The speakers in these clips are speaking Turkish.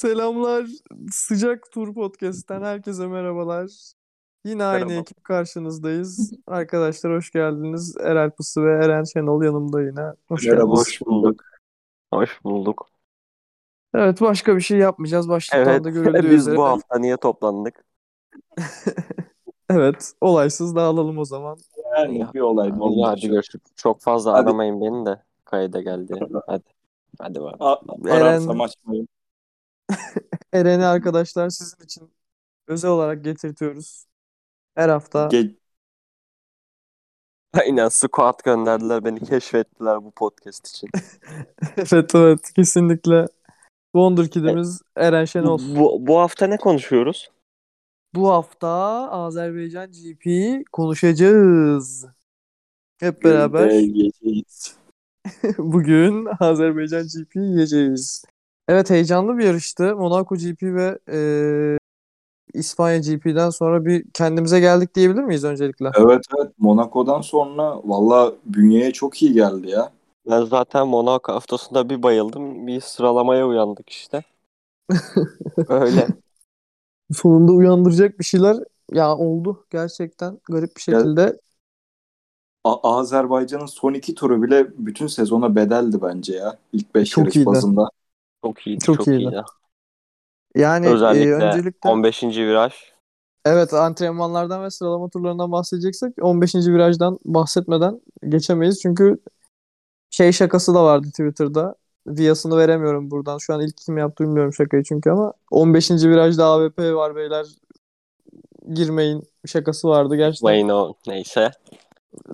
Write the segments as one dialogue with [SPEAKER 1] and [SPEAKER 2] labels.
[SPEAKER 1] Selamlar. Sıcak Tur Podcast'ten herkese merhabalar. Yine aynı
[SPEAKER 2] Merhaba.
[SPEAKER 1] ekip karşınızdayız. Arkadaşlar hoş geldiniz. Erel Pusu ve Eren Şenol yanımda yine. Hoş
[SPEAKER 2] Merhaba,
[SPEAKER 1] geldiniz.
[SPEAKER 2] hoş bulduk. Hoş bulduk.
[SPEAKER 1] Evet başka bir şey yapmayacağız. Başlıktan
[SPEAKER 2] Evet,
[SPEAKER 1] da görüldüğü
[SPEAKER 2] E, biz
[SPEAKER 1] üzere.
[SPEAKER 2] bu hafta niye toplandık?
[SPEAKER 1] Evet olaysız dağılalım o zaman.
[SPEAKER 2] Ya,
[SPEAKER 3] bir olay mı
[SPEAKER 2] Vallahi hadi görüşürüz. Çok fazla
[SPEAKER 3] Hadi.
[SPEAKER 2] aramayın beni de. Kayda geldi. Hadi. Hadi bak.
[SPEAKER 1] Eren-
[SPEAKER 2] E,
[SPEAKER 3] Ararsa açmayın.
[SPEAKER 1] Eren'i arkadaşlar sizin için özel olarak getirtiyoruz. Her hafta.
[SPEAKER 3] Ge-
[SPEAKER 2] Aynen squat gönderdiler beni keşfettiler bu podcast için.
[SPEAKER 1] Evet evet kesinlikle. Wonderkid'imiz
[SPEAKER 2] E-
[SPEAKER 1] Eren Şenol.
[SPEAKER 2] bu, bu hafta ne konuşuyoruz?
[SPEAKER 1] Bu hafta Azerbaycan GP'yi konuşacağız. Hep beraber
[SPEAKER 3] Ge- geçeyiz.
[SPEAKER 1] bugün Azerbaycan GP yiyeceğiz. Evet heyecanlı bir yarıştı. Monaco GP ve e, İspanya GP'den sonra bir kendimize geldik diyebilir miyiz öncelikle?
[SPEAKER 3] Evet evet Monaco'dan sonra valla bünyeye çok iyi geldi ya.
[SPEAKER 2] Ben zaten Monaco haftasında bir bayıldım. Bir sıralamaya uyandık işte. Öyle.
[SPEAKER 1] Sonunda uyandıracak bir şeyler ya oldu gerçekten garip bir
[SPEAKER 3] Gel-
[SPEAKER 1] şekilde.
[SPEAKER 3] A- Azerbaycan'ın son iki turu bile bütün sezona bedeldi bence ya. İlk beş
[SPEAKER 1] Çok
[SPEAKER 3] yarış
[SPEAKER 1] iyiydi.
[SPEAKER 3] bazında.
[SPEAKER 2] Çok iyiydi.
[SPEAKER 1] Çok
[SPEAKER 2] Çok,
[SPEAKER 1] iyiydi.
[SPEAKER 2] iyiydi.
[SPEAKER 1] Yani e,
[SPEAKER 2] Özellikle
[SPEAKER 1] öncelikle
[SPEAKER 2] 15. viraj.
[SPEAKER 1] Evet antrenmanlardan ve sıralama turlarından bahsedeceksek 15. virajdan bahsetmeden geçemeyiz. Çünkü şey şakası da vardı Twitter'da. Viyasını veremiyorum buradan. Şu an ilk kim yaptı bilmiyorum şakayı çünkü ama 15. virajda AWP var beyler. Girmeyin şakası vardı. Gerçekten
[SPEAKER 2] Wayne o neyse.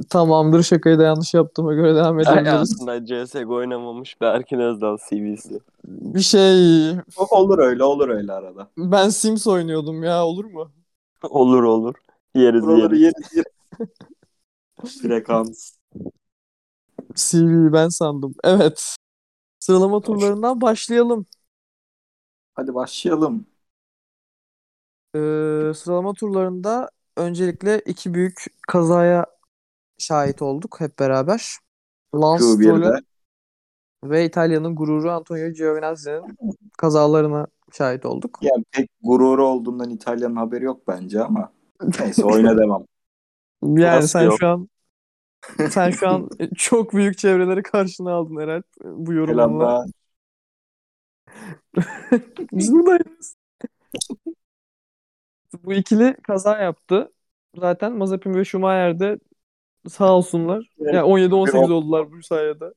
[SPEAKER 1] tamamdır şakayı da yanlış yaptığıma göre devam edebiliriz.
[SPEAKER 2] Hayatında CSGO oynamamış Berkin Özdal CV'si.
[SPEAKER 1] Bir şey
[SPEAKER 3] O- Olur öyle olur öyle arada.
[SPEAKER 1] ben Sims oynuyordum ya olur mu?
[SPEAKER 2] Olur olur. Yeriz
[SPEAKER 3] Buraları
[SPEAKER 2] yeriz.
[SPEAKER 3] yeriz yeriz. Frekans.
[SPEAKER 1] CV ben sandım. Evet. Sıralama turlarından başlayalım.
[SPEAKER 3] Hadi başlayalım.
[SPEAKER 1] Ee, sıralama turlarında öncelikle iki büyük kazaya şahit olduk hep beraber. Lance Stroll'ün
[SPEAKER 3] Q1'de.
[SPEAKER 1] ve İtalya'nın gururu Antonio Giovinazzi'nin kazalarına şahit olduk.
[SPEAKER 3] Yani pek gururu olduğundan İtalya'nın haberi yok bence ama. Neyse oyuna devam.
[SPEAKER 1] Yani
[SPEAKER 2] Nasıl
[SPEAKER 1] sen
[SPEAKER 2] yok?
[SPEAKER 1] şu an sen şu an çok büyük çevreleri karşına aldın herhalde bu yorumla.
[SPEAKER 3] Selamlar.
[SPEAKER 1] Biz buradayız. Bu ikili kaza yaptı. Zaten Mazepin ve Schumacher de sağ olsunlar.
[SPEAKER 3] Evet.
[SPEAKER 1] Yani 17-18 oldular bu sayede.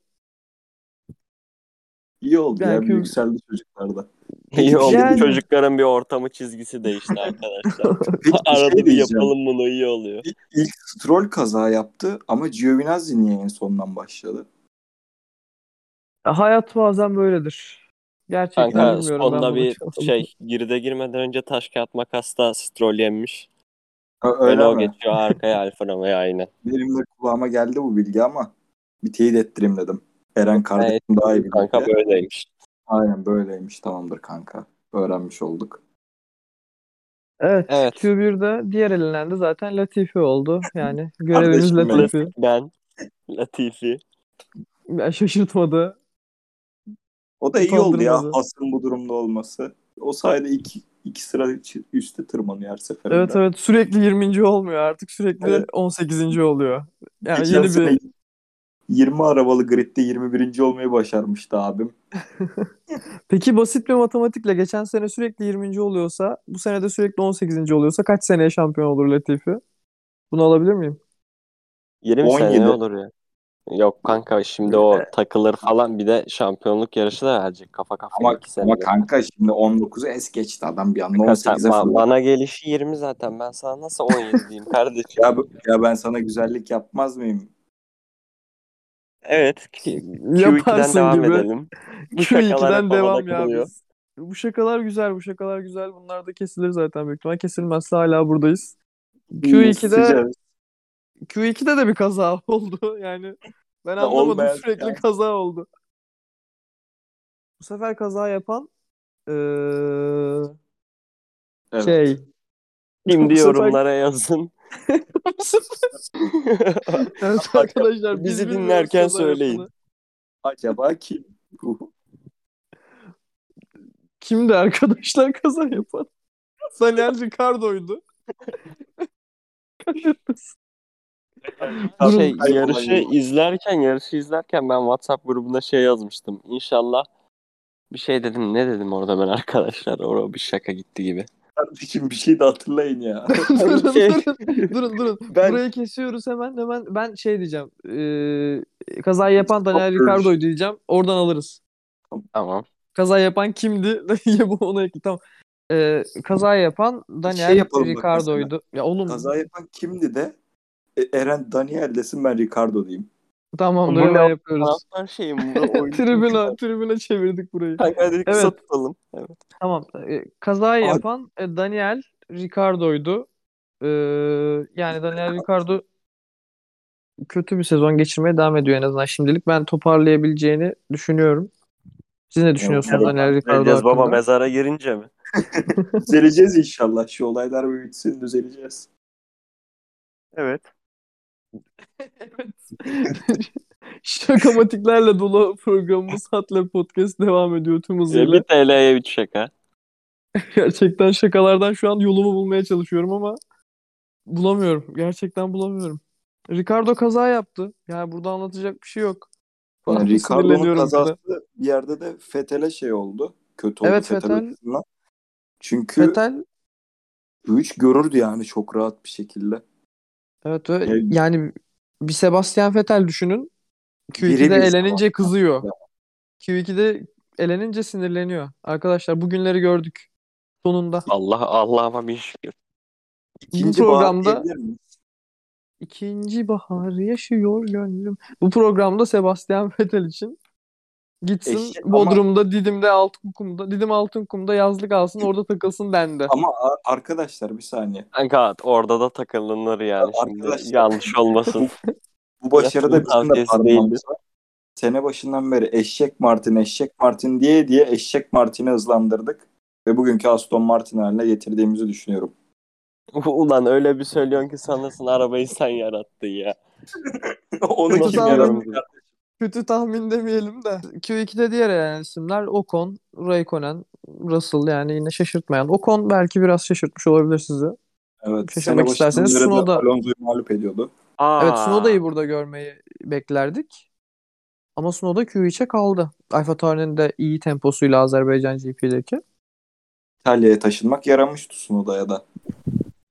[SPEAKER 3] İyi oldu ya.
[SPEAKER 1] Belki-
[SPEAKER 3] bir Yükseldi çocuklarda.
[SPEAKER 2] İyi oldu.
[SPEAKER 1] Yani-
[SPEAKER 2] Çocukların bir ortamı çizgisi değişti arkadaşlar.
[SPEAKER 3] Peki bir şey
[SPEAKER 2] Arada bir
[SPEAKER 3] diyeceğim.
[SPEAKER 2] yapalım bunu iyi oluyor.
[SPEAKER 3] İlk, ilk troll kaza yaptı ama Giovinazzi niye en sondan başladı?
[SPEAKER 1] Hayat bazen böyledir.
[SPEAKER 3] şey
[SPEAKER 1] Gerçekten
[SPEAKER 2] Kanka
[SPEAKER 1] bilmiyorum ben
[SPEAKER 2] sonda
[SPEAKER 1] bunu.
[SPEAKER 2] bir şey girde girmeden önce taş kağıt makasla strol yenmiş.
[SPEAKER 3] Ö-
[SPEAKER 2] Öyle
[SPEAKER 3] Öyle
[SPEAKER 2] o
[SPEAKER 3] mi?
[SPEAKER 2] geçiyor arkaya Alfa Romeo aynen.
[SPEAKER 3] Benim de kulağıma geldi bu bilgi ama bir teyit ettireyim dedim. Eren kardeşim daha iyi bilir.
[SPEAKER 2] Kanka
[SPEAKER 3] diye.
[SPEAKER 2] böyleymiş.
[SPEAKER 3] Aynen böyleymiş tamamdır kanka. Öğrenmiş olduk.
[SPEAKER 1] Evet,
[SPEAKER 2] Evet.
[SPEAKER 1] Q1'de diğer elenen de zaten Latifi oldu. Yani görevimiz
[SPEAKER 3] Kardeşim benim.
[SPEAKER 1] Latifi.
[SPEAKER 2] Ben Latifi.
[SPEAKER 1] Ya şaşırtmadı.
[SPEAKER 3] O da iyi oldu ya
[SPEAKER 1] Utandırmadı.
[SPEAKER 3] Hasan bu durumda olması. O sayede iki, iki sıra ç- üstte tırmanıyor her seferinde.
[SPEAKER 1] Evet evet sürekli 20. olmuyor artık sürekli
[SPEAKER 3] Evet.
[SPEAKER 1] 18. oluyor. Yani
[SPEAKER 3] Geçen
[SPEAKER 1] yeni bir
[SPEAKER 3] sene 20 arabalı gridde 21. olmayı başarmıştı abim.
[SPEAKER 1] Peki basit bir matematikle geçen sene sürekli 20. oluyorsa bu sene de sürekli 18. oluyorsa kaç seneye şampiyon olur Latifi? Bunu alabilir miyim?
[SPEAKER 2] 20
[SPEAKER 3] 17.
[SPEAKER 2] sene olur ya. Yok kanka şimdi o takılır falan bir de şampiyonluk yarışı da verecek kafa kafaya
[SPEAKER 3] Ama,
[SPEAKER 2] iki
[SPEAKER 3] ama
[SPEAKER 2] senede.
[SPEAKER 3] kanka şimdi 19'u es geçti adam bir anda
[SPEAKER 2] Kanka sen-
[SPEAKER 3] 18'e
[SPEAKER 2] ba-
[SPEAKER 3] fırladı.
[SPEAKER 2] bana gelişi 20 zaten. Ben sana nasıl 17 diyeyim kardeşim?
[SPEAKER 3] Ya, bu- ya ben sana güzellik yapmaz mıyım?
[SPEAKER 2] Evet. Q- Q2'den
[SPEAKER 1] Yaparsın
[SPEAKER 2] devam
[SPEAKER 1] gibi.
[SPEAKER 2] edelim. Bu
[SPEAKER 1] Q2'den
[SPEAKER 2] şakalar hep havada
[SPEAKER 1] devam ya
[SPEAKER 2] kalıyor.
[SPEAKER 1] biz. Bu şakalar güzel, bu şakalar güzel. Bunlar da kesilir zaten büyük ihtimal. Kesilmezse hala buradayız. Q2'de
[SPEAKER 3] Hmm, Sıcak.
[SPEAKER 1] Q2'de de bir kaza oldu. Yani ben
[SPEAKER 3] Ya
[SPEAKER 1] anlamadım
[SPEAKER 3] olmayan
[SPEAKER 1] sürekli
[SPEAKER 2] şey.
[SPEAKER 3] yani.
[SPEAKER 1] kaza oldu. Bu sefer kaza yapan eee,
[SPEAKER 3] Evet.
[SPEAKER 1] şey Bu
[SPEAKER 2] Şimdi
[SPEAKER 1] sefer-
[SPEAKER 2] yorumlara yazın. Şey,
[SPEAKER 1] Evet arkadaşlar biz
[SPEAKER 2] Bizi
[SPEAKER 1] bilmiyoruz
[SPEAKER 2] dinlerken
[SPEAKER 1] kaza
[SPEAKER 2] söyleyin.
[SPEAKER 1] yapanı.
[SPEAKER 3] Acaba kim?
[SPEAKER 1] Kimdi arkadaşlar kaza yapan? Daniel Ricardo'ydu. Durun.
[SPEAKER 2] Şey,
[SPEAKER 3] Ay,
[SPEAKER 2] yarışı
[SPEAKER 3] olay yok.
[SPEAKER 2] izlerken yarışı izlerken ben WhatsApp grubuna şey yazmıştım. İnşallah bir şey dedim. Ne dedim orada ben arkadaşlar? Orada bir şaka gitti gibi.
[SPEAKER 3] Kardeşim bir şey de hatırlayın ya.
[SPEAKER 1] durun,
[SPEAKER 2] Şey-
[SPEAKER 1] durun, durun, durun.
[SPEAKER 2] Ben
[SPEAKER 1] Burayı kesiyoruz hemen. Hemen ben şey diyeceğim. Ee, kaza yapan Daniel
[SPEAKER 3] Kapıyoruz.
[SPEAKER 1] Ricardo'yu diyeceğim. Oradan alırız.
[SPEAKER 2] tamam.
[SPEAKER 1] Kaza yapan kimdi? Bu ona ekli. Tamam. Ee, kaza yapan Daniel
[SPEAKER 3] şey yapalım bak
[SPEAKER 1] Ricardo'ydu. Ya oğlum
[SPEAKER 3] Kaza yapan kimdi de? E, Eren Daniel desin ben Ricardo diyeyim.
[SPEAKER 1] tamam
[SPEAKER 2] Bu
[SPEAKER 1] böyle
[SPEAKER 2] ne-
[SPEAKER 1] yapıyoruz.
[SPEAKER 2] Transfer şeyim bu. oyun-
[SPEAKER 1] Tribüne, tribüne çevirdik burayı.
[SPEAKER 2] Kanka dedik
[SPEAKER 1] Evet.
[SPEAKER 2] kısa tutalım. Evet.
[SPEAKER 1] Tamam. e, Kaza
[SPEAKER 3] Abi-
[SPEAKER 1] yapan e, Daniel Ricardo'ydu. Ee, yani Daniel Ricardo kötü bir sezon geçirmeye devam ediyor en azından şimdilik. Ben toparlayabileceğini düşünüyorum. Siz ne düşünüyorsunuz
[SPEAKER 3] evet.
[SPEAKER 1] Daniel Ricardo
[SPEAKER 2] Edeceğiz baba
[SPEAKER 1] hakkında?
[SPEAKER 2] mezara girince mi?
[SPEAKER 3] Düzeleceğiz inşallah. Şu olaylar bir bitsin düzeleceğiz.
[SPEAKER 2] Evet.
[SPEAKER 1] Şakamatiklerle dolu programımız Hatle Podcast devam ediyor tüm hızıyla.
[SPEAKER 2] 1 TL'ye 3 şaka.
[SPEAKER 1] Gerçekten şakalardan şu an yolumu bulmaya çalışıyorum ama bulamıyorum. Gerçekten bulamıyorum. Ricardo kaza yaptı. Yani burada anlatacak bir şey yok.
[SPEAKER 3] Yani
[SPEAKER 1] Çok
[SPEAKER 3] Ricardo'nun
[SPEAKER 1] sinirleniyorum
[SPEAKER 3] kazası
[SPEAKER 1] burada.
[SPEAKER 3] bir yerde de Fetel'e şey oldu. Kötü oldu
[SPEAKER 1] Evet,
[SPEAKER 3] Fetel.
[SPEAKER 1] Vettel.
[SPEAKER 3] açısından. Çünkü
[SPEAKER 1] Vettel
[SPEAKER 3] üç görürdü yani çok rahat bir şekilde.
[SPEAKER 1] evet ve
[SPEAKER 3] Yani-
[SPEAKER 1] yani bir Sebastian Vettel düşünün.
[SPEAKER 3] Biri
[SPEAKER 1] Q2'de
[SPEAKER 3] bir
[SPEAKER 1] elenince
[SPEAKER 3] Sebastian
[SPEAKER 1] kızıyor.
[SPEAKER 3] Vettel.
[SPEAKER 1] Q2'de elenince sinirleniyor. Arkadaşlar bugünleri gördük. Sonunda.
[SPEAKER 2] Allah Allah'ıma bir şükür.
[SPEAKER 3] İkinci
[SPEAKER 1] Bu
[SPEAKER 3] bahar
[SPEAKER 1] programda-
[SPEAKER 3] diyebilir miyiz?
[SPEAKER 1] İkinci baharı yaşıyor gönlüm. Bu programda Sebastian Vettel için gitsin
[SPEAKER 3] Eşi- ama-
[SPEAKER 1] Bodrum'da, Didim'de, Altınkum'da, Didim Altınkum'da yazlık alsın orada takılsın dendi.
[SPEAKER 3] Ama a- arkadaşlar bir saniye.
[SPEAKER 2] Kanka orada da takılınır yani şimdi.
[SPEAKER 3] Arkadaşlar.
[SPEAKER 2] Yanlış olmasın.
[SPEAKER 3] Bu başarıda
[SPEAKER 2] Yatırım
[SPEAKER 3] bizim de
[SPEAKER 2] tavsiyesi
[SPEAKER 3] parmağımız var. Sene başından beri eşek Martin, eşek Martin diye diye eşek Martin'i hızlandırdık. Ve bugünkü Aston Martin haline getirdiğimizi düşünüyorum.
[SPEAKER 2] Ulan öyle bir söylüyorsun ki sanırsın arabayı sen yarattın ya.
[SPEAKER 3] Onu
[SPEAKER 1] Nasıl
[SPEAKER 3] kim
[SPEAKER 1] anladın?
[SPEAKER 3] yarattı?
[SPEAKER 1] Kötü tahmin demeyelim de. Q2'de diğer elenen isimler Ocon, Raikkonen, Russell yani yine şaşırtmayan. Ocon belki biraz şaşırtmış olabilir sizi. Şaşırmak
[SPEAKER 3] Evet. sene başından
[SPEAKER 1] isterseniz
[SPEAKER 3] beri de
[SPEAKER 1] Tsunoda-
[SPEAKER 3] Alonso'yu mağlup ediyordu.
[SPEAKER 2] Aa,
[SPEAKER 1] Evet Snowda'yı burada görmeyi beklerdik. Ama Snowda Q3'e kaldı. Alfa Tauri'nin de iyi temposuyla Azerbaycan GP'deki.
[SPEAKER 3] İtalya'ya taşınmak yaramış Tsunoda'ya da.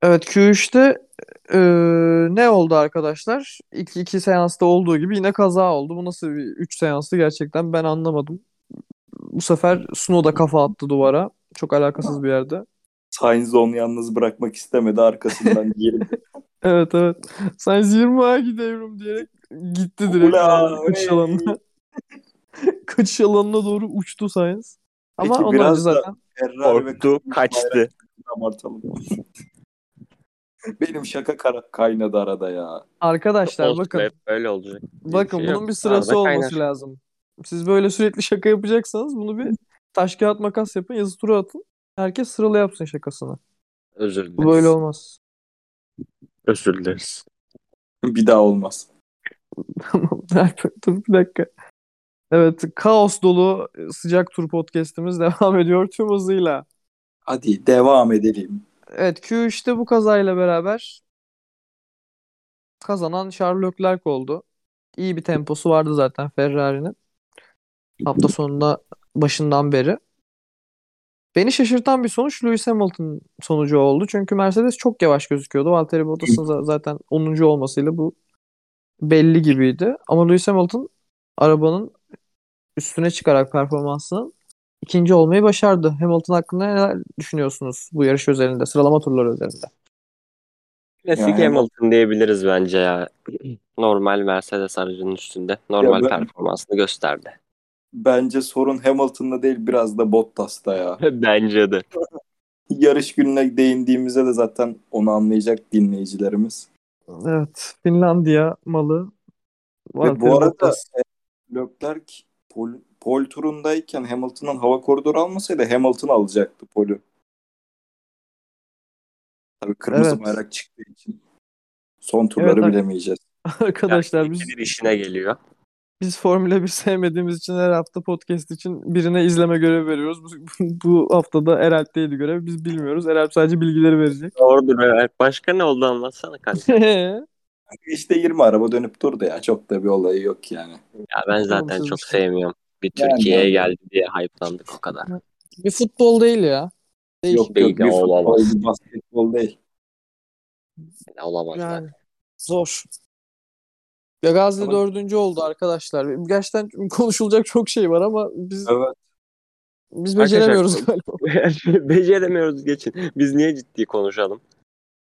[SPEAKER 1] Evet Q3'te eee, ne oldu arkadaşlar? İlk iki seansta olduğu gibi yine kaza oldu. Bu nasıl bir üç seansı gerçekten ben anlamadım. Bu sefer Snow da kafa attı duvara. Çok alakasız bir yerde.
[SPEAKER 3] Sainz de onu yalnız bırakmak istemedi arkasından girip.
[SPEAKER 1] Evet evet. Sainz 20'a gidiyorum diyerek gitti direkt.
[SPEAKER 3] Ula,
[SPEAKER 1] kaçış
[SPEAKER 3] oley.
[SPEAKER 1] alanına. kaçış alanına doğru uçtu Sainz. Ama
[SPEAKER 3] Peki,
[SPEAKER 1] onun
[SPEAKER 3] biraz
[SPEAKER 1] harici
[SPEAKER 3] da-
[SPEAKER 1] zaten
[SPEAKER 3] Ferrari ve
[SPEAKER 2] korktu kaçtı.
[SPEAKER 3] abartalım. Benim şaka kara- kaynadı arada ya.
[SPEAKER 1] arkadaşlar
[SPEAKER 2] Olsun,
[SPEAKER 1] bakın
[SPEAKER 2] hep böyle olacak.
[SPEAKER 1] Bakın
[SPEAKER 2] şey
[SPEAKER 1] bunun
[SPEAKER 2] yok.
[SPEAKER 1] bir sırası
[SPEAKER 2] Arada
[SPEAKER 1] olması
[SPEAKER 2] kaynar.
[SPEAKER 1] lazım. Siz böyle sürekli şaka yapacaksanız bunu bir taş kağıt makas yapın, yazı tura atın. Herkes sıralı yapsın şakasını.
[SPEAKER 2] Özür
[SPEAKER 1] Bu böyle olmaz.
[SPEAKER 2] Özür dileriz.
[SPEAKER 3] Bir daha olmaz.
[SPEAKER 1] Tamam. Dur, Dur bir dakika. Evet, kaos dolu sıcak tur podcast'imiz devam ediyor tüm hızıyla.
[SPEAKER 3] Hadi devam edelim.
[SPEAKER 1] Evet, Q3'te bu kazayla beraber kazanan Charles Leclerc oldu. İyi bir temposu vardı zaten Ferrari'nin. Hafta sonunda başından beri. Beni şaşırtan bir sonuç Lewis Hamilton sonucu oldu. Çünkü Mercedes çok yavaş gözüküyordu. Valtteri Bottas'ın za- zaten 10. olmasıyla bu belli gibiydi. Ama Lewis Hamilton arabanın üstüne çıkarak performansının ikinci olmayı başardı. Hamilton hakkında neler düşünüyorsunuz bu yarış özelinde, sıralama turları özelinde?
[SPEAKER 2] Klasik
[SPEAKER 3] Yani-
[SPEAKER 2] Hamilton diyebiliriz bence ya. Normal Mercedes aracının üstünde normal
[SPEAKER 3] Ya ben-
[SPEAKER 2] performansını gösterdi.
[SPEAKER 3] Bence sorun Hamilton'da değil biraz da Bottas'ta ya.
[SPEAKER 2] Bence de.
[SPEAKER 3] Yarış gününe değindiğimizde de zaten onu anlayacak dinleyicilerimiz.
[SPEAKER 1] Evet, Finlandiya malı.
[SPEAKER 3] Ve bu arada e, Leclerc pol, pol turundayken Hamilton'ın hava koridoru almasaydı Hamilton alacaktı polü. Tabii kırmızı
[SPEAKER 1] Evet.
[SPEAKER 3] bayrak çıktığı için. Son turları
[SPEAKER 1] Evet,
[SPEAKER 3] bilemeyeceğiz.
[SPEAKER 1] arkadaşlar biz
[SPEAKER 2] bir işine geliyor.
[SPEAKER 1] Biz Formula 1 sevmediğimiz için her hafta podcast için birine izleme görevi veriyoruz. Bu, bu haftada Eralp'teydi görev. Biz bilmiyoruz. Eralp sadece bilgileri verecek.
[SPEAKER 2] Doğrudur evet. Başka ne oldu anlatsana kanka.
[SPEAKER 3] İşte 20 araba dönüp durdu ya. Çok da bir olayı yok yani.
[SPEAKER 2] Ya ben zaten
[SPEAKER 1] Olumsuz
[SPEAKER 2] çok
[SPEAKER 1] bir şey.
[SPEAKER 2] sevmiyorum. Bir
[SPEAKER 3] Yani-
[SPEAKER 2] Türkiye'ye geldi diye hype'landık o kadar.
[SPEAKER 1] bir futbol değil ya. Değil.
[SPEAKER 3] Yok
[SPEAKER 2] Değil
[SPEAKER 3] yok.
[SPEAKER 2] ya,
[SPEAKER 3] Bir futbol,
[SPEAKER 2] olamaz.
[SPEAKER 3] bir basketbol değil.
[SPEAKER 2] Yani olamaz.
[SPEAKER 1] Yani zor. Ya Gazze
[SPEAKER 3] Ama-
[SPEAKER 1] dördüncü oldu arkadaşlar. Gerçekten konuşulacak çok şey var ama biz
[SPEAKER 3] Evet.
[SPEAKER 1] biz
[SPEAKER 2] Arkadaşlar-
[SPEAKER 1] beceremiyoruz galiba.
[SPEAKER 2] zaten. Beceremiyoruz geçin. Biz niye ciddi konuşalım?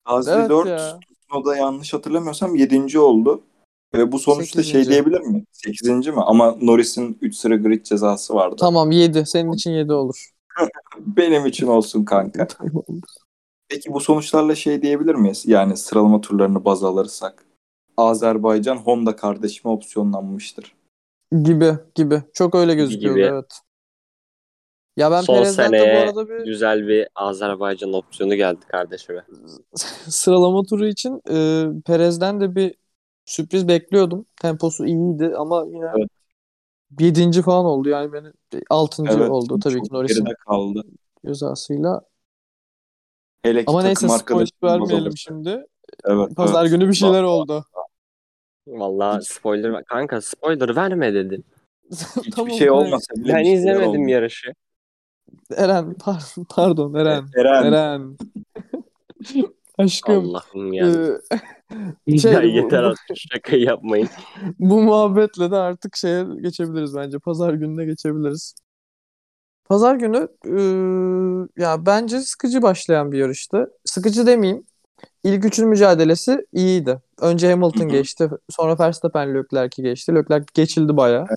[SPEAKER 3] Gazi
[SPEAKER 1] Evet
[SPEAKER 3] 4
[SPEAKER 1] ya.
[SPEAKER 3] da yanlış hatırlamıyorsam 7. oldu. Ve bu sonuçta
[SPEAKER 1] Sekizinci.
[SPEAKER 3] şey diyebilir mi? 8. mi? Ama Norris'in 3 sıra grid cezası vardı.
[SPEAKER 1] Tamam 7. Senin için 7 olur.
[SPEAKER 3] Benim için olsun kanka.
[SPEAKER 1] Tamam.
[SPEAKER 3] Peki bu sonuçlarla şey diyebilir miyiz? Yani sıralama turlarını baz alırsak. Azerbaycan Honda kardeşime opsiyonlanmıştır.
[SPEAKER 1] Gibi gibi. Çok öyle gözüküyor
[SPEAKER 2] Gibi.
[SPEAKER 1] evet. Ya ben
[SPEAKER 2] Son
[SPEAKER 1] Perez'den de bu
[SPEAKER 2] seneye
[SPEAKER 1] arada bir
[SPEAKER 2] Güzel bir Azerbaycan opsiyonu geldi kardeşime.
[SPEAKER 1] sıralama turu için e, Perez'den de bir sürpriz bekliyordum. Temposu iyiydi ama yine
[SPEAKER 3] Evet.
[SPEAKER 1] 7. falan oldu yani beni 6. oldu tabii ki
[SPEAKER 3] çok
[SPEAKER 1] Norris'in
[SPEAKER 3] geride kaldı.
[SPEAKER 1] cezasıyla.
[SPEAKER 3] Hele ki
[SPEAKER 1] Ama
[SPEAKER 3] takım
[SPEAKER 1] neyse spoiler
[SPEAKER 3] arkadaşım baz
[SPEAKER 1] vermeyelim
[SPEAKER 3] alırsa.
[SPEAKER 1] şimdi.
[SPEAKER 3] Evet,
[SPEAKER 1] Pazar
[SPEAKER 3] evet.
[SPEAKER 1] günü bir şeyler
[SPEAKER 3] Vallahi-
[SPEAKER 1] oldu.
[SPEAKER 2] Vallahi spoiler kanka spoiler verme dedin.
[SPEAKER 3] Hiçbir
[SPEAKER 1] Tamam,
[SPEAKER 3] şey
[SPEAKER 1] evet.
[SPEAKER 3] olmasa bile
[SPEAKER 2] Ben
[SPEAKER 3] bir şeyler
[SPEAKER 2] izlemedim
[SPEAKER 3] oldu.
[SPEAKER 2] yarışı.
[SPEAKER 1] Eren par- pardon Eren.
[SPEAKER 3] Eren,
[SPEAKER 1] Eren. Aşkım.
[SPEAKER 2] Allah'ım ya.
[SPEAKER 1] e, Ee, şey,
[SPEAKER 2] ya
[SPEAKER 1] bu-
[SPEAKER 2] yeter
[SPEAKER 1] bu-
[SPEAKER 2] artık şakayı yapmayın.
[SPEAKER 1] Bu muhabbetle de artık şeye geçebiliriz bence. Pazar gününe geçebiliriz. Pazar günü eee, ya bence sıkıcı başlayan bir yarıştı. Sıkıcı demeyeyim. İlk üçün mücadelesi iyiydi. Önce Hamilton
[SPEAKER 3] Hı hı.
[SPEAKER 1] geçti. Sonra Verstappen Leclerc'i geçti. Leclerc geçildi bayağı.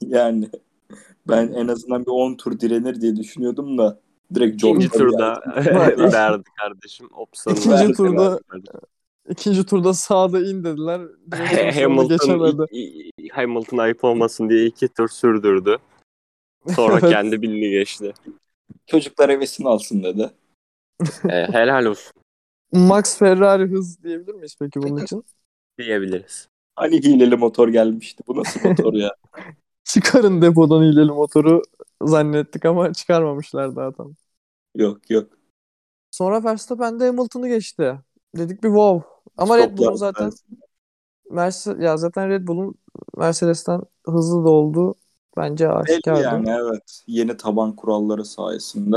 [SPEAKER 3] Yani ben en azından bir 10 tur direnir diye düşünüyordum da direkt George
[SPEAKER 2] İkinci turda
[SPEAKER 1] Vallahi.
[SPEAKER 2] verdi kardeşim. Opsiyonu
[SPEAKER 1] İkinci
[SPEAKER 2] verdi.
[SPEAKER 1] turda- İkinci turda sağda in dediler. Direkt sonra şey geçemedi.
[SPEAKER 2] Hamilton, i- i- Hamilton ayıp olmasın diye iki tur sürdürdü. Sonra
[SPEAKER 1] Evet.
[SPEAKER 2] kendi bilini geçti.
[SPEAKER 3] Çocuklar hevesini alsın dedi.
[SPEAKER 2] Ee, helal olsun
[SPEAKER 1] Max Ferrari hız diyebilir miyiz peki bunun için?
[SPEAKER 2] diyebiliriz.
[SPEAKER 3] Hani hileli motor gelmişti. Bu nasıl motor ya?
[SPEAKER 1] Çıkarın depodan hileli motoru zannettik ama çıkarmamışlar daha tam.
[SPEAKER 3] yok yok.
[SPEAKER 1] Sonra Verstappen de Hamilton'ı geçti. Dedik bir wow. Ama Red Bull'un
[SPEAKER 3] Toplar-
[SPEAKER 1] zaten Mercedes ya zaten Red Bull'un Mercedes'ten hızlı da oldu. Bence
[SPEAKER 3] Belli
[SPEAKER 1] aşikardı.
[SPEAKER 3] yani evet. Yeni taban kuralları sayesinde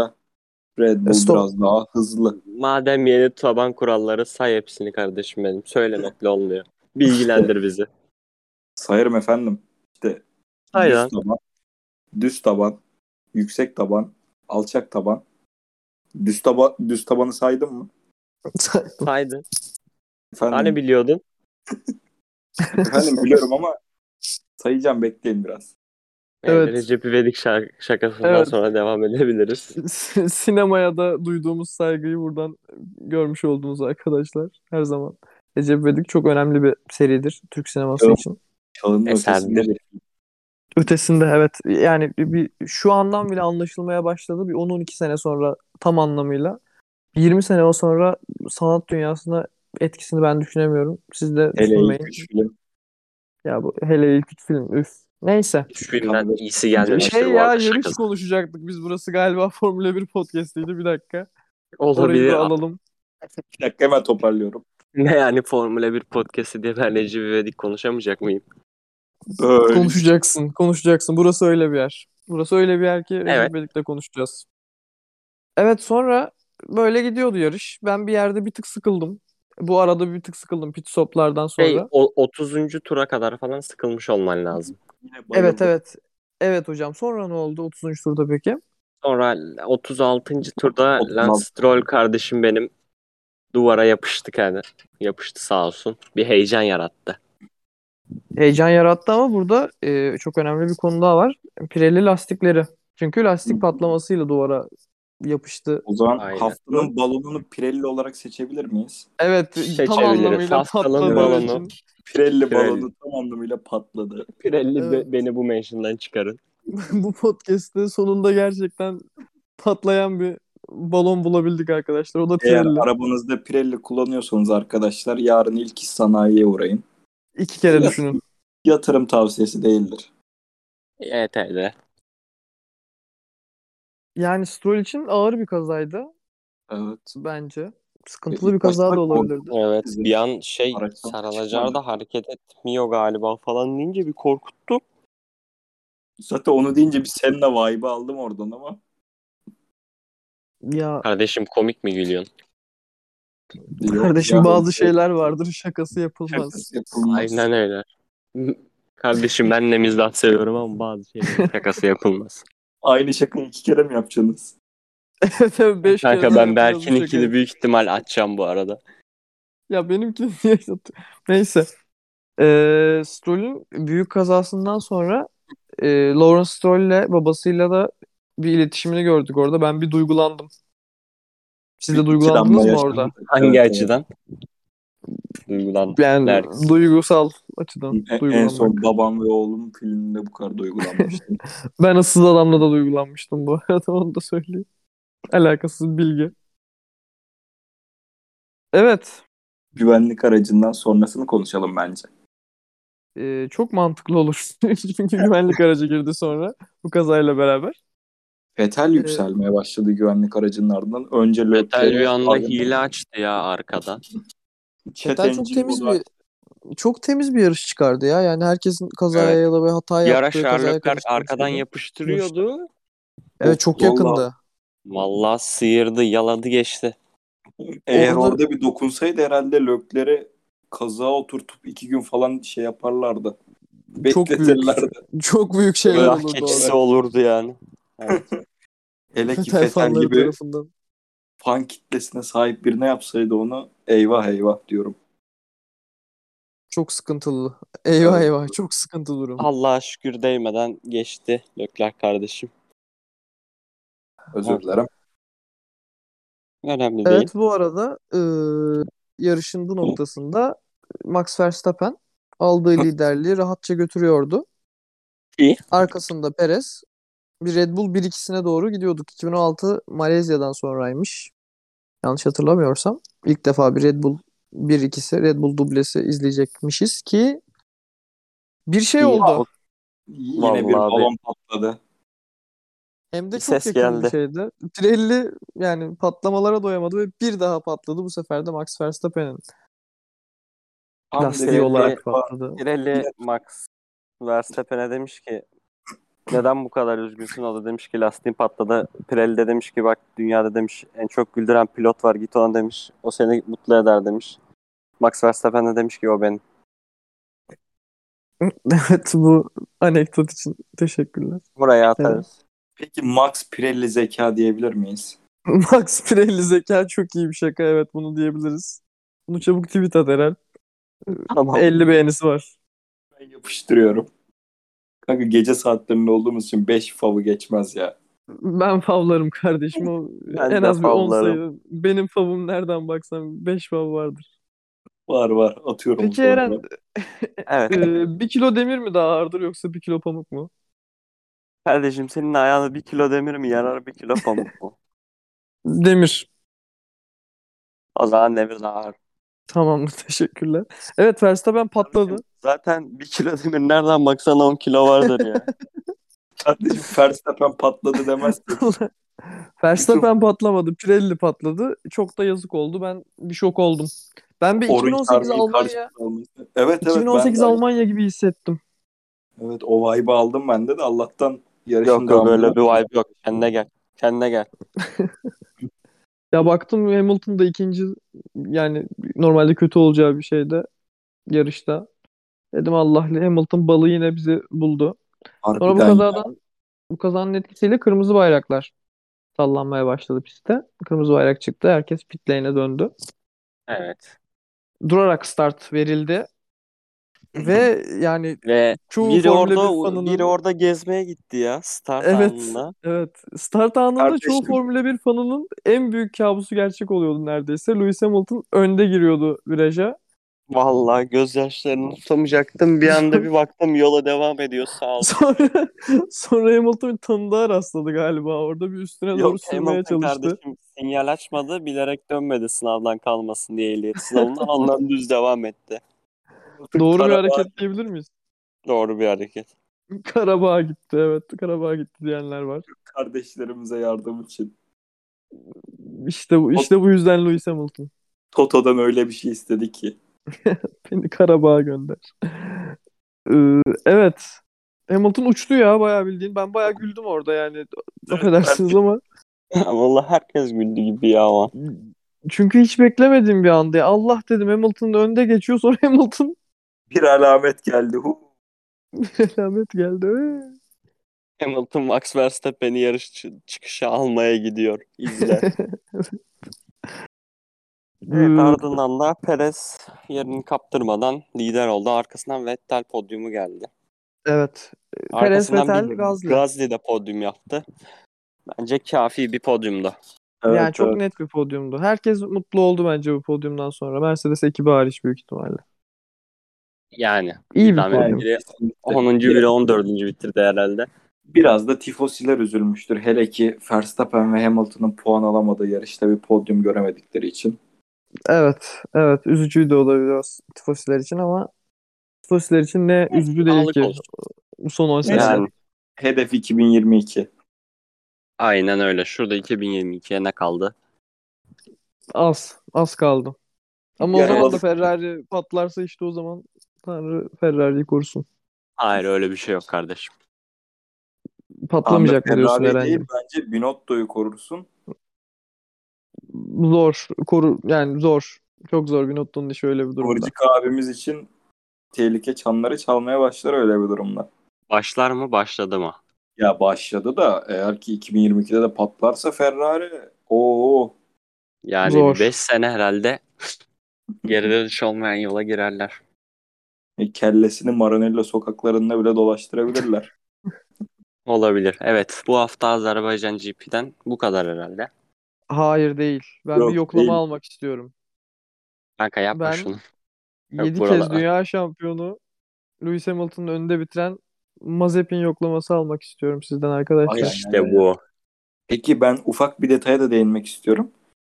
[SPEAKER 3] Red Bull
[SPEAKER 1] Stop.
[SPEAKER 3] biraz daha hızlı.
[SPEAKER 2] Madem yeni taban kuralları say hepsini kardeşim benim. Söylemekle olmuyor. Bilgilendir bizi.
[SPEAKER 3] Sayarım efendim. İşte
[SPEAKER 2] Say lan.
[SPEAKER 3] düz taban, düz taban, yüksek taban, alçak taban. Düz, taba düz tabanı saydın mı?
[SPEAKER 2] Saydın.
[SPEAKER 3] Efendim,
[SPEAKER 2] Hani biliyordun?
[SPEAKER 3] efendim biliyorum ama sayacağım bekleyin biraz.
[SPEAKER 1] Evet.
[SPEAKER 2] Evet. Ee, Recep İvedik şark- şakasından
[SPEAKER 1] Evet.
[SPEAKER 2] sonra devam edebiliriz.
[SPEAKER 1] S- Sinemaya da duyduğumuz saygıyı buradan görmüş oldunuz arkadaşlar. Her zaman. Recep İvedik çok önemli bir seridir Türk sineması
[SPEAKER 3] Evet.
[SPEAKER 1] için.
[SPEAKER 3] Çağının
[SPEAKER 2] Eserdir.
[SPEAKER 3] ötesinde bir
[SPEAKER 1] Ötesinde evet yani bir, bir- şu andan bile anlaşılmaya başladı. Bir 10-12 sene sonra tam anlamıyla. 20 sene sonra sanat dünyasına etkisini ben düşünemiyorum. Siz de
[SPEAKER 3] hele
[SPEAKER 1] düşünmeyin.
[SPEAKER 3] ilk üç film.
[SPEAKER 1] Ya bu hele ilk üç film üf. Neyse.
[SPEAKER 2] Şu filmden iyisi gelmemiştir
[SPEAKER 1] Şey
[SPEAKER 2] bu
[SPEAKER 1] ya
[SPEAKER 2] arada
[SPEAKER 1] yarış
[SPEAKER 2] şakası.
[SPEAKER 1] konuşacaktık biz burası galiba Formula 1 podcast'iydi bir dakika. Orayı
[SPEAKER 2] Olabilir.
[SPEAKER 1] da alalım.
[SPEAKER 3] Bir dakika hemen toparlıyorum.
[SPEAKER 2] Ne yani Formula 1 podcast'i diye ben Recep İvedik konuşamayacak mıyım?
[SPEAKER 3] Öyle.
[SPEAKER 1] Konuşacaksın, konuşacaksın. Burası öyle bir yer. Burası öyle bir yer ki Recep
[SPEAKER 2] Evet.
[SPEAKER 1] İvedik'le konuşacağız. Evet sonra böyle gidiyordu yarış. Ben bir yerde bir tık sıkıldım. Bu arada bir tık sıkıldım pit stoplardan sonra.
[SPEAKER 2] Şey, o, 30. tura kadar falan sıkılmış olman lazım.
[SPEAKER 3] Yine bayıldım.
[SPEAKER 1] Evet evet. Evet hocam. Sonra ne oldu 30. turda peki?
[SPEAKER 2] Sonra 36. turda
[SPEAKER 3] 36.
[SPEAKER 2] Lance Stroll kardeşim benim duvara yapıştık yani. Yapıştı sağ olsun. Bir heyecan yarattı.
[SPEAKER 1] Heyecan yarattı ama burada e, çok önemli bir konu daha var. Pirelli lastikleri. Çünkü lastik patlamasıyla duvara yapıştı.
[SPEAKER 3] O zaman
[SPEAKER 2] Aynen.
[SPEAKER 3] haftanın balonunu Pirelli olarak seçebilir miyiz?
[SPEAKER 1] Evet tam
[SPEAKER 2] Seçebiliriz.
[SPEAKER 1] anlamıyla
[SPEAKER 2] Haftalığın
[SPEAKER 1] patladı.
[SPEAKER 2] balonu.
[SPEAKER 1] için.
[SPEAKER 3] Pirelli,
[SPEAKER 2] Pirelli.
[SPEAKER 3] balonu tam anlamıyla patladı.
[SPEAKER 2] Pirelli
[SPEAKER 1] be- Evet.
[SPEAKER 2] beni bu mention'dan çıkarın.
[SPEAKER 1] Bu podcast'te sonunda gerçekten patlayan bir balon bulabildik arkadaşlar. O da
[SPEAKER 3] Eğer
[SPEAKER 1] Pirelli.
[SPEAKER 3] arabanızda Pirelli kullanıyorsanız arkadaşlar yarın ilk iş sanayiye uğrayın.
[SPEAKER 1] İki kere düşünün.
[SPEAKER 3] yatırım tavsiyesi değildir.
[SPEAKER 2] Evet öyle.
[SPEAKER 1] Yani Stroll için ağır bir kazaydı
[SPEAKER 3] Evet.
[SPEAKER 1] bence. Sıkıntılı
[SPEAKER 3] E,
[SPEAKER 1] bir kaza
[SPEAKER 3] başta
[SPEAKER 1] da olabilirdi.
[SPEAKER 2] Evet
[SPEAKER 3] Bizim
[SPEAKER 2] bir an şey
[SPEAKER 3] araçtan
[SPEAKER 2] sarılacağı
[SPEAKER 3] çıkmadı.
[SPEAKER 2] da hareket etmiyor galiba falan deyince bir korkuttu.
[SPEAKER 3] Zaten onu deyince bir Senna vibe'ı aldım oradan ama.
[SPEAKER 1] Ya
[SPEAKER 2] Kardeşim komik mi gülüyorsun?
[SPEAKER 1] kardeşim
[SPEAKER 3] Ya,
[SPEAKER 1] bazı şeyler vardır şakası yapılmaz.
[SPEAKER 3] şakası yapılmaz.
[SPEAKER 2] Aynen öyle. Kardeşim ben de mizah seviyorum ama bazı şeylerin şakası yapılmaz.
[SPEAKER 3] Aynı şakayı iki kere mi yapacaksınız?
[SPEAKER 1] Evet evet 5 kere daha
[SPEAKER 2] Kanka ben
[SPEAKER 1] yapılır bu
[SPEAKER 2] Berk'in
[SPEAKER 1] şakayı.
[SPEAKER 2] ikili büyük ihtimal açacağım bu arada.
[SPEAKER 1] Ya benimki niye satıyor? Neyse. Ee, Stroll'ün büyük kazasından sonra e, Lawrence Stroll'le babasıyla da bir iletişimini gördük orada. Ben bir duygulandım. Siz de duygulandınız mı
[SPEAKER 3] Travma
[SPEAKER 1] orada?
[SPEAKER 3] yaşandı.
[SPEAKER 2] Hangi
[SPEAKER 3] Evet,
[SPEAKER 2] açıdan? Duygulan.
[SPEAKER 1] Yani
[SPEAKER 2] Nergis.
[SPEAKER 1] duygusal açıdan
[SPEAKER 3] evet. E, En- En,
[SPEAKER 1] duygulanmak.
[SPEAKER 3] son babam ve oğlum filminde bu kadar duygulanmıştım.
[SPEAKER 1] Ben ıssız adamla da duygulanmıştım bu arada onu da söyleyeyim. Alakasız bilgi. Evet.
[SPEAKER 3] Güvenlik aracından sonrasını konuşalım bence.
[SPEAKER 1] e, çok mantıklı olur. Çünkü güvenlik aracı girdi sonra bu kazayla beraber. Ee,
[SPEAKER 3] Fetel yükselmeye başladı güvenlik aracının ardından. Önce
[SPEAKER 2] Vettel bir
[SPEAKER 3] Leclerc-
[SPEAKER 2] anda hile açtı ya arkada.
[SPEAKER 3] Chat
[SPEAKER 1] Vettel çok
[SPEAKER 3] engine
[SPEAKER 1] temiz
[SPEAKER 3] olarak-
[SPEAKER 1] bir çok temiz bir yarış çıkardı ya. Yani herkesin kazaya
[SPEAKER 2] Evet.
[SPEAKER 1] ya da bir hata
[SPEAKER 2] Bir ara
[SPEAKER 1] yaptığı kazaya
[SPEAKER 2] Sherlock
[SPEAKER 1] karıştığını
[SPEAKER 2] arkadan
[SPEAKER 1] söyledi.
[SPEAKER 2] yapıştırıyordu.
[SPEAKER 1] Evet çok
[SPEAKER 3] Vallahi
[SPEAKER 1] yakındı.
[SPEAKER 2] Vallahi sıyırdı, yaladı geçti.
[SPEAKER 3] Eğer
[SPEAKER 1] Orada-
[SPEAKER 3] orada bir dokunsaydı herhalde Lökler'e kaza oturtup iki gün falan şey yaparlardı.
[SPEAKER 1] Çok büyük.
[SPEAKER 3] Bekletirlerdi.
[SPEAKER 1] Çok büyük şeyler
[SPEAKER 2] Günah
[SPEAKER 1] olurdu
[SPEAKER 2] keçisi
[SPEAKER 1] orada.
[SPEAKER 2] olurdu yani.
[SPEAKER 3] Hele
[SPEAKER 1] Fetel
[SPEAKER 3] ki Fetel
[SPEAKER 1] fanları
[SPEAKER 3] gibi
[SPEAKER 1] tarafından.
[SPEAKER 3] fan kitlesine sahip birine yapsaydı onu eyvah eyvah diyorum.
[SPEAKER 1] Çok sıkıntılı. Eyvah
[SPEAKER 3] Evet.
[SPEAKER 1] eyvah çok sıkıntı durum.
[SPEAKER 2] Allah'a şükür değmeden geçti Lökler kardeşim.
[SPEAKER 3] Özür dilerim.
[SPEAKER 2] Önemli değil.
[SPEAKER 1] Evet bu arada e, yarışın bu noktasında Max Verstappen aldığı liderliği rahatça götürüyordu.
[SPEAKER 2] İyi.
[SPEAKER 1] Arkasında Perez. Bir Red Bull 1-2'sine doğru gidiyorduk. 2016 Malezya'dan sonraymış. Yanlış hatırlamıyorsam. İlk defa bir Red Bull 1-2'si, Red Bull dublesi izleyecekmişiz ki bir şey
[SPEAKER 2] İyi.
[SPEAKER 1] oldu.
[SPEAKER 3] Yine
[SPEAKER 2] Vallahi
[SPEAKER 3] bir
[SPEAKER 2] abi.
[SPEAKER 3] balon patladı.
[SPEAKER 1] Hem de
[SPEAKER 2] Bir
[SPEAKER 1] çok
[SPEAKER 2] ses
[SPEAKER 1] yakın bir
[SPEAKER 2] geldi.
[SPEAKER 1] şeydi. Pirelli yani patlamalara doyamadı ve bir daha patladı. Bu sefer de Max Verstappen'in
[SPEAKER 2] Tam
[SPEAKER 1] lastiği
[SPEAKER 2] Pirelli-
[SPEAKER 1] olarak patladı.
[SPEAKER 2] Pirelli Max Verstappen'e demiş ki neden bu kadar üzgünsün? O da demiş ki lastiğim patladı. Pirelli de demiş ki bak dünyada demiş en çok güldüren pilot var git ona demiş. O seni mutlu eder demiş. Max Verstappen de demiş ki o benim.
[SPEAKER 1] Evet bu anekdot için teşekkürler.
[SPEAKER 2] Buraya atarız.
[SPEAKER 3] Peki Max Pirelli zeka diyebilir miyiz?
[SPEAKER 1] Max Pirelli zeka çok iyi bir şaka evet bunu diyebiliriz. Bunu çabuk tweet at Eren.
[SPEAKER 2] Tamam.
[SPEAKER 1] 50 beğenisi var.
[SPEAKER 3] Ben yapıştırıyorum. Kanka gece saatlerinde olduğumuz için 5 favı geçmez ya.
[SPEAKER 1] Ben favlarım kardeşim. O
[SPEAKER 2] Ben
[SPEAKER 1] en
[SPEAKER 2] de
[SPEAKER 1] az bir 10
[SPEAKER 2] favlarım.
[SPEAKER 1] sayı. Benim favum nereden baksam 5 fav vardır.
[SPEAKER 3] Var var atıyorum.
[SPEAKER 1] Peki
[SPEAKER 3] sonra.
[SPEAKER 1] Eren
[SPEAKER 2] Evet.
[SPEAKER 1] 1 Ee, kilo demir mi daha ağırdır yoksa 1 kilo pamuk mu?
[SPEAKER 2] Kardeşim senin ayağına bir kilo demir mi yarar bir kilo pamuk mu?
[SPEAKER 1] Demir.
[SPEAKER 2] O zaman demir daha ağır.
[SPEAKER 1] Tamamdır teşekkürler. Evet Verstappen patladı.
[SPEAKER 2] Zaten bir kilo demir nereden baksan 10 kilo vardır ya.
[SPEAKER 3] Kardeşim Verstappen patladı demez.
[SPEAKER 1] Verstappen patlamadı. Pirelli patladı. Çok da yazık oldu. Ben bir şok oldum. Ben bir
[SPEAKER 3] Orange
[SPEAKER 1] 2018
[SPEAKER 3] Army'yi
[SPEAKER 1] Almanya
[SPEAKER 3] karşısına almış. Evet evet.
[SPEAKER 1] 2018
[SPEAKER 3] ben de-
[SPEAKER 1] Almanya gibi hissettim.
[SPEAKER 3] Evet o vibe'ı aldım ben de de Allah'tan yarışın
[SPEAKER 2] yok yok
[SPEAKER 3] devamında-
[SPEAKER 2] öyle bir vibe yok. Kendine gel. Kendine gel.
[SPEAKER 1] Ya baktım Hamilton da ikinci yani normalde kötü olacağı bir şeyde yarışta. Dedim Allah Hamilton balı yine bizi buldu. Sonra bu
[SPEAKER 3] Harbiden ya.
[SPEAKER 1] kazadan bu kazanın etkisiyle kırmızı bayraklar sallanmaya başladı pistte. Kırmızı bayrak çıktı. Herkes pit lane'e döndü.
[SPEAKER 2] Evet.
[SPEAKER 1] Durarak start verildi ve yani
[SPEAKER 2] Ve
[SPEAKER 1] çoğu
[SPEAKER 2] biri
[SPEAKER 1] Formula
[SPEAKER 2] orada
[SPEAKER 1] 1 fanının
[SPEAKER 2] biri orada gezmeye gitti ya start
[SPEAKER 1] Evet.
[SPEAKER 2] anına.
[SPEAKER 1] Evet. Start anında çoğu
[SPEAKER 3] Kardeşim.
[SPEAKER 1] Formula 1 fanının en büyük kabusu gerçek oluyordu neredeyse. Lewis Hamilton önde giriyordu viraja.
[SPEAKER 2] Vallahi gözyaşlarını tutamayacaktım. Bir anda bir baktım yola devam ediyor sağ ol.
[SPEAKER 1] Sonra sonra Hamilton tanıdığa rastladı galiba. Orada bir üstüne doğru
[SPEAKER 2] Yok
[SPEAKER 1] sürmeye
[SPEAKER 2] Hamilton
[SPEAKER 1] çalıştı.
[SPEAKER 2] kardeşim sinyal açmadı bilerek dönmedi sınavdan kalmasın diye ehliyet sınavından ondan düz devam etti.
[SPEAKER 1] Doğru bir
[SPEAKER 3] Karabağ-
[SPEAKER 1] hareket diyebilir miyiz?
[SPEAKER 2] Doğru bir hareket.
[SPEAKER 1] Karabağ'a gitti evet. Karabağ'a gitti diyenler var.
[SPEAKER 3] Kardeşlerimize yardım için.
[SPEAKER 1] İşte bu, işte bu yüzden Lewis Hamilton.
[SPEAKER 3] Toto'dan öyle bir şey istedi ki.
[SPEAKER 1] Beni Karabağ'a gönder. Ee, evet. Hamilton uçtu ya bayağı bildiğin. Ben bayağı güldüm orada yani. Affedersiniz ama.
[SPEAKER 2] Vallahi herkes güldü gibi ya ama.
[SPEAKER 1] Çünkü hiç beklemediğim bir anda. ya. Allah dedim Hamilton önde geçiyor sonra Hamilton
[SPEAKER 3] Bir alamet geldi. Hu.
[SPEAKER 1] alamet geldi. Ee.
[SPEAKER 2] Hamilton Max Verstappen'i yarış çı- çıkışa almaya gidiyor. İzle. Evet,
[SPEAKER 1] Ee,
[SPEAKER 2] ardından da Perez yerini kaptırmadan lider oldu. Arkasından Vettel podyumu geldi.
[SPEAKER 1] evet. Perez,
[SPEAKER 2] Arkasından
[SPEAKER 1] Vettel,
[SPEAKER 2] bir
[SPEAKER 1] Gasly.
[SPEAKER 2] Gasly de podyum yaptı. Bence kafi bir podyumdu.
[SPEAKER 3] Evet,
[SPEAKER 1] yani çok
[SPEAKER 3] evet.
[SPEAKER 1] net bir podyumdu. Herkes mutlu oldu bence bu podyumdan sonra. Mercedes ekibi hariç büyük ihtimalle.
[SPEAKER 2] Yani
[SPEAKER 1] İyi bir
[SPEAKER 2] Tamam.
[SPEAKER 1] podyum.
[SPEAKER 2] Biri 10. biri 14. bitirdi herhalde.
[SPEAKER 3] Biraz da tifosiler üzülmüştür. Hele ki Verstappen ve Hamilton'ın puan alamadığı yarışta bir podyum göremedikleri için.
[SPEAKER 1] Evet, evet. Üzücüydü o da biraz tifosiler için ama tifosiler için ne üzücü değil
[SPEAKER 2] Sağlık
[SPEAKER 1] ki
[SPEAKER 2] olsun.
[SPEAKER 1] bu son 10 sene.
[SPEAKER 2] Yani
[SPEAKER 3] Hedef 2022.
[SPEAKER 2] aynen öyle. Şurada 2022'ye ne kaldı?
[SPEAKER 1] Az, az kaldı. Ama o
[SPEAKER 3] Yani
[SPEAKER 1] zaman da
[SPEAKER 3] az-
[SPEAKER 1] Ferrari patlarsa işte o zaman Tanrı Ferrari'yi korusun.
[SPEAKER 2] Hayır öyle bir şey yok kardeşim.
[SPEAKER 1] Patlamayacak mı diyorsun
[SPEAKER 3] Ferrari
[SPEAKER 1] herhangi?
[SPEAKER 3] değil, bence Binotto'yu korursun.
[SPEAKER 1] Zor, koru yani zor. Çok zor Binotto'nun işi öyle bir durumda.
[SPEAKER 3] Burcuk abimiz için tehlike çanları çalmaya başlar öyle bir durumda.
[SPEAKER 2] Başlar mı başladı mı?
[SPEAKER 3] Ya başladı da eğer ki 2022'de de patlarsa Ferrari o
[SPEAKER 2] Yani
[SPEAKER 1] Zor.
[SPEAKER 2] 5 sene herhalde geride dönüş olmayan yola girerler.
[SPEAKER 3] E, kellesini Maranello sokaklarında bile dolaştırabilirler.
[SPEAKER 2] Olabilir. Evet. Bu hafta Azerbaycan GP'den bu kadar herhalde.
[SPEAKER 1] Hayır değil. Ben
[SPEAKER 3] Yok,
[SPEAKER 1] bir yoklama
[SPEAKER 3] değil.
[SPEAKER 1] almak istiyorum.
[SPEAKER 2] Kanka yapma
[SPEAKER 1] Ben-
[SPEAKER 2] şunu.
[SPEAKER 1] 7 kez
[SPEAKER 2] buralara.
[SPEAKER 1] dünya şampiyonu Lewis Hamilton'ın önünde bitiren Mazepin yoklaması almak istiyorum sizden arkadaşlar.
[SPEAKER 3] Ay,
[SPEAKER 2] İşte bu.
[SPEAKER 3] Peki ben ufak bir detaya da değinmek istiyorum.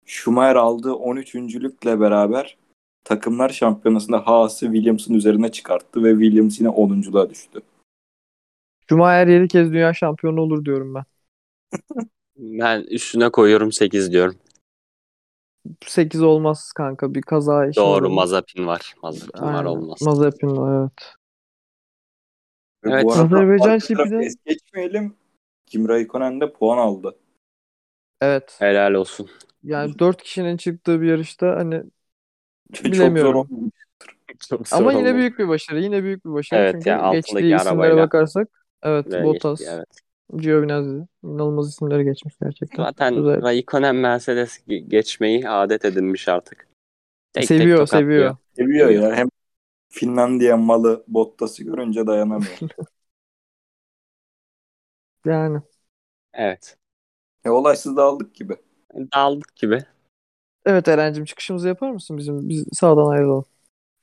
[SPEAKER 3] Schumacher aldığı 13.lükle beraber takımlar şampiyonasında Haas'ı Williams'ın üzerine çıkarttı ve Williams yine 10.luğa düştü.
[SPEAKER 1] Schumacher 7 kez dünya şampiyonu olur diyorum ben.
[SPEAKER 2] Ben üstüne koyuyorum 8 diyorum.
[SPEAKER 1] 8 olmaz kanka bir kaza işi
[SPEAKER 2] Doğru.
[SPEAKER 1] olur.
[SPEAKER 2] Mazepin var. Mazepin var
[SPEAKER 1] Şey Aynen.
[SPEAKER 2] olmaz.
[SPEAKER 1] Mazepin var evet.
[SPEAKER 3] Ve
[SPEAKER 2] Evet.
[SPEAKER 3] bu arada
[SPEAKER 1] Azerbaycan
[SPEAKER 3] arka tarafı
[SPEAKER 1] şipinden-
[SPEAKER 3] es geçmeyelim. Kim Raikkonen de puan aldı.
[SPEAKER 1] Evet.
[SPEAKER 2] Helal olsun.
[SPEAKER 1] Yani 4 kişinin çıktığı bir yarışta hani
[SPEAKER 3] Çok
[SPEAKER 1] Bilemiyorum.
[SPEAKER 3] zor oldu.
[SPEAKER 2] Çok zor
[SPEAKER 1] ama yine
[SPEAKER 2] oldu.
[SPEAKER 1] büyük bir başarı. Yine büyük bir başarı.
[SPEAKER 2] Evet,
[SPEAKER 1] Çünkü
[SPEAKER 2] yani altındaki
[SPEAKER 1] geçtiği isimlere
[SPEAKER 2] arabayla.
[SPEAKER 1] bakarsak evet
[SPEAKER 2] Ve
[SPEAKER 1] Bottas,
[SPEAKER 2] geçti, evet.
[SPEAKER 1] Giovinazzi inanılmaz isimleri geçmiş gerçekten.
[SPEAKER 2] Zaten
[SPEAKER 1] Güzel.
[SPEAKER 2] Raikkonen Mercedes ge- geçmeyi adet edinmiş artık. Tek tek
[SPEAKER 1] seviyor,
[SPEAKER 2] tokatlıyor.
[SPEAKER 1] seviyor.
[SPEAKER 3] Seviyor ya. Hem Finlandiya malı Bottas'ı görünce dayanamıyor.
[SPEAKER 1] Yani
[SPEAKER 2] Evet.
[SPEAKER 3] e, olaysız dağıldık gibi.
[SPEAKER 2] Daldık gibi.
[SPEAKER 1] evet Eren'cim çıkışımızı yapar mısın bizim? Biz sağdan ayrılalım.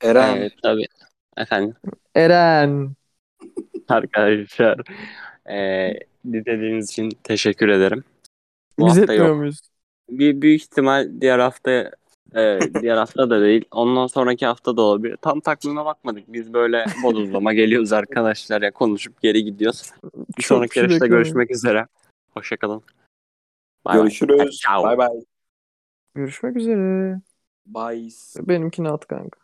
[SPEAKER 3] Eren
[SPEAKER 2] Evet Ee, tabii. Efendim.
[SPEAKER 1] Eren.
[SPEAKER 2] Arkadaşlar eee dinlediğiniz için teşekkür ederim. Bu
[SPEAKER 1] Biz
[SPEAKER 2] hafta
[SPEAKER 1] etmiyor
[SPEAKER 2] yok.
[SPEAKER 1] muyuz?
[SPEAKER 2] Bir büyük ihtimal diğer hafta eee, diğer hafta da değil. Ondan sonraki hafta da olabilir. Tam takvime bakmadık. Biz böyle bodozlama geliyoruz arkadaşlar ya konuşup geri gidiyoruz. Bir
[SPEAKER 1] Çok
[SPEAKER 2] sonraki
[SPEAKER 1] şey
[SPEAKER 2] yarışta
[SPEAKER 1] bekliyorum.
[SPEAKER 2] görüşmek üzere. Hoşçakalın.
[SPEAKER 3] görüşürüz.
[SPEAKER 2] Ciao.
[SPEAKER 3] Bay bay.
[SPEAKER 1] Görüşmek üzere.
[SPEAKER 3] Bye.
[SPEAKER 1] Benimkini at kanka.